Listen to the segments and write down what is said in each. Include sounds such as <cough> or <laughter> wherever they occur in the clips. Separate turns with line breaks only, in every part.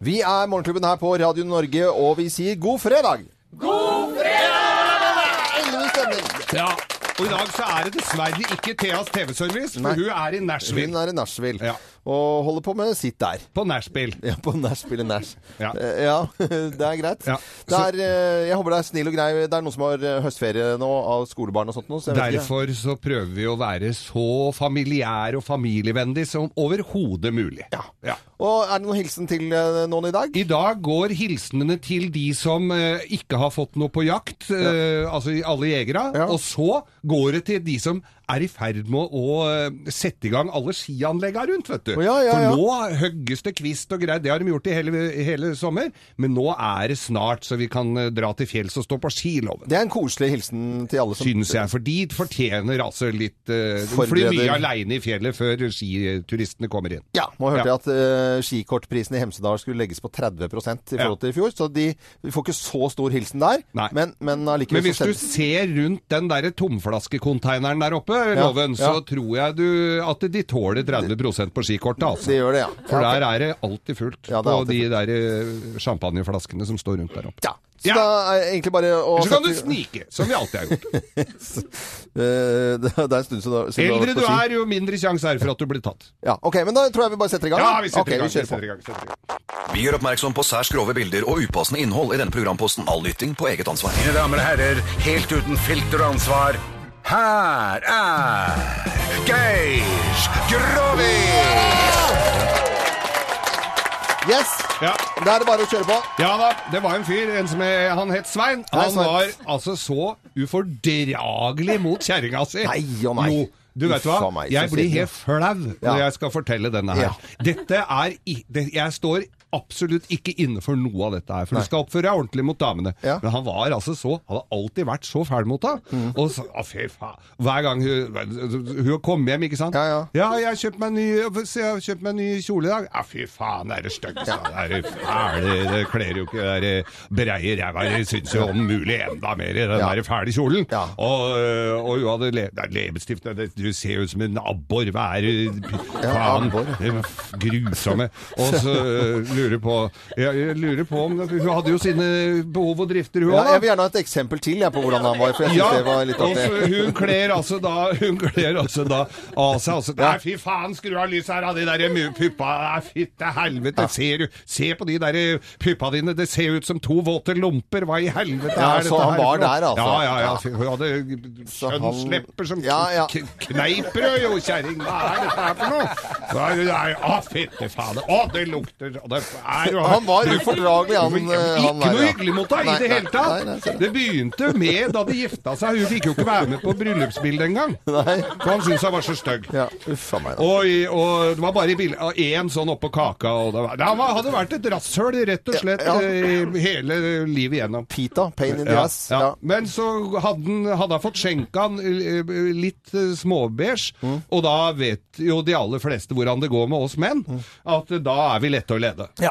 Vi er Morgenklubben her på Radio Norge, og vi sier god fredag! God fredag!
Ja. Og i dag så er det dessverre ikke Theas TV-service, for
Nei.
hun er i
Hun
Nashville.
er i Nashville
Ja.
og holder på med sitt der.
På Nashville.
Ja, på Nashville Nash.
Ja.
Eh, ja <laughs> det er greit.
Ja.
Det er, eh, jeg håper det er snill og grei. Det er noen som har eh, høstferie nå av skolebarn og sånt. Nå, så jeg vet ikke.
Derfor så prøver vi å være så familiær og familievennlig som overhodet mulig. Ja.
Og er det noen hilsen til eh, noen i dag?
I dag går hilsenene til de som eh, ikke har fått noe på jakt, eh, altså alle jegere.
Ja.
Og så går det til de som er i ferd med å eh, sette i gang alle skianlegga rundt, vet du.
Å, ja, ja, ja.
For nå høgges det kvist og greier, det har de gjort i hele, hele sommer. Men nå er det snart så vi kan eh, dra til fjells og stå på skiloven.
Det er en koselig hilsen til alle som
Synes jeg, for de fortjener altså litt eh, De flyr
Forbereder.
mye aleine i fjellet før skituristene kommer inn.
Ja, nå hørte jeg
Ja.
at eh, skikortprisen i Hemsedal skulle legges på 30 i forhold til i fjor, så de, vi får ikke så stor hilsen der.
Nei.
Men, men allikevel
Men hvis
så
du
sendes-
ser rundt den der tomflaskekonteineren der oppe, Loven, så
ja.
tror jeg du at de tåler 30 på skikortet, altså.
Det gjør det, ja.
For
ja,
der er det alltid fullt
Ja, det er
på
alltid
de der eh, champagneflaskene som står rundt der oppe.
ja. Så
Ja.
da er det egentlig bare å
Så kan du
sette-
snike, som vi alltid har gjort.
<laughs> Eh, det <laughs> det er en stund siden siden
Eldre
du har vært på
du
ski.
er, jo mindre sjanse er det for at du blir tatt.
Ja, ok, men da tror jeg vi bare setter i gang.
Ja,
da.
vi setter
Ok,
i gang.
Vi kjører på.
setter i gang, setter i gang.
Vi gjør oppmerksom på særs grove bilder og upassende innhold i denne programposten. All lytting på eget ansvar.
Mine damer og herrer, helt uten filter og ansvar, her er Geir Grovis!
Yes!
Ja.
Da er det bare å kjøre på.
Ja da, det var en fyr, en som eh, han het Svein. Han
Svein.
var altså så ufordragelig mot kjerringa si.
Nei og nei.
Jo, du vet
Uffa
hva,
meg, så
jeg blir
sitter jeg.
helt flau
Ja.
når jeg skal fortelle denne her. Dette er i- det, Jeg står absolutt ikke inne for noe av dette her, for
Nei.
du skal oppføre deg ordentlig mot damene.
Ja. Mm.
Men han var altså så Han hadde alltid vært så fæl mot henne. Og så, å, fy faen. Hver gang hun, hun kom hjem, ikke sant
Ja, ja.
jeg har kjøpt meg en ny, se, jeg har kjøpt meg en ny kjole i dag. Ja, fy faen, det er det styggeste. Det er det fæle, det kler jo ikke det der, eh, breie ræva. Jeg syns jo om mulig enda mer i den
Ja.
der fæle kjolen.
Ja.
Og, øh, og hun hadde le, det er leppestift det- det- Du ser jo ut som en abbor. Hva er det? Faen.
abbor.
Det er f- Grusomme. Og
<laughs>
så øh, lurer på jeg, jeg lurer på om Hun hadde jo sine behov og drifter, hun
Ja,
òg.
jeg vil gjerne ha et eksempel til jeg, på hvordan han var, for jeg synes det var litt
og
artig.
så hun kler altså da Hun kler altså da av seg altså, Nei, fy faen, skru av lyset her, av de der mu- puppa Nei, fytte helvete, ser du Se på de der eh, puppa dine, det ser ut som to våte lomper, hva i helvete
Ja,
er
så
dette
han
her
var
for noe?
der, altså.
Ja, ja, ja,
Ja.
fy- hun hadde
Så han-
kjønnslepper som
Ja, ja.
k- kneiper jo, kjæring, hva er dette her for noe? Hva er det der? Å, fytte faen, å, det lukter og det er, jo-
Han var
Du-
ufordragelig, han, eh,
Ikke
han der,
noe
ja.
hyggelig mot deg i
Nei,
det
nei,
hele tatt
nei, nei, ser du.
Det begynte med da de gifta seg. Hun fikk jo ikke være med på bryllupsbildet engang.
Nei.
For han syntes han var så stygg.
Ja, uff a meg. da.
Og, i- og det var bare i bil- av én sånn oppå kaka. Og det var, det var- hadde vært et rasshøl rett og slett
Ja.
eh, hele livet igjennom.
Pita, pain in the
Ja,
ass.
ja.
Ja.
Men så hadde han, hadde han fått skjenka han eh, litt eh, småbeige,
Mm.
og da vet jo de aller fleste hvordan det går med oss menn, at eh, da er vi lette å lede.
Mm. Ja.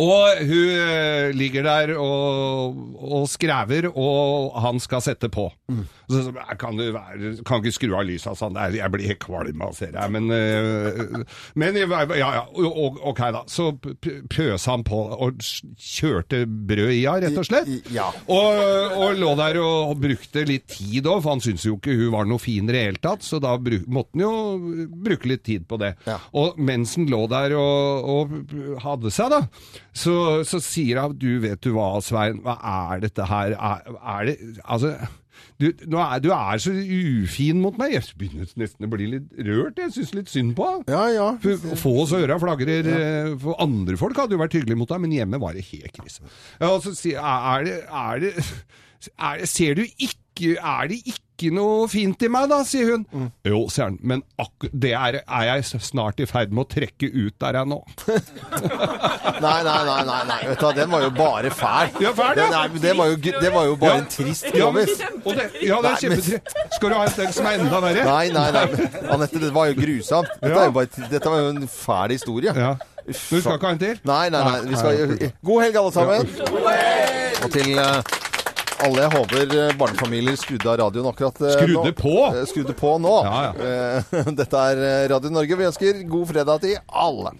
Og hun eh, ligger der og, og skrever, og han skal sette på.
Mm.
Så, så, «Nei, kan du være, kan ikke skru av lyset og sånn, «Nei, jeg blir helt kvalm av å se deg, men, eh, men jeg- ja, ja, og- og- ok da. Så p- pøsa han på og s- kjørte brød i henne, rett og slett.
I- i- ja.
Og, og lå der og, og brukte litt tid òg, for han syntes jo ikke hun var noe fin i det hele tatt, så da bru, måtte han jo bruke litt tid på det.
Ja.
Og mens han lå der og, og hadde seg, da, så, så sier han Du, vet du hva, Svein, hva er dette her? Er, er det Altså du, nå er, du er så ufin mot meg. Jeg begynner nesten å bli litt rørt. Jeg syns litt synd på deg.
Ja, ja.
For Få oss øra flagrer. eh, For andre folk hadde jo vært hyggelige mot deg, men hjemme var det helt krise. Ja, og så sier jeg, er det, er det, <laughs> er det, ser du ikke, er det ikke noe fint i meg da, sier hun.
Mm.
Jo, sier han, men akkur- det er, er jeg snart i ferd med å trekke ut der
<laughs>
jeg er nå.
Nei, nei, nei, nei, nei. Vet du, hva, den var jo bare fæl.
Ja, fæl, ja.
Den, er- det, var jo, gr- det var jo bare
Ja.
en trist
Ja, men,
grovis.
og det, ja, det er
Nei, men-
kjempetre. Skal du ha en del som er enda verre?
Nei, nei, nei. men Anette, det var jo grusomt. Dette,
Ja.
er jo bare, dette var jo en fæl historie.
Ja. Du skal ikke ha en til?
Nei, nei, nei. Vi skal, god helg, alle sammen. Og til eh, alle jeg håper eh, barnefamilier skrudde av radioen akkurat eh, nå.
Skrudde på?
Eh, <laughs> Skrudde på nå.
Ja, ja.
Eh, Dette er eh, Radio Norge. Vi ønsker god fredag til alle.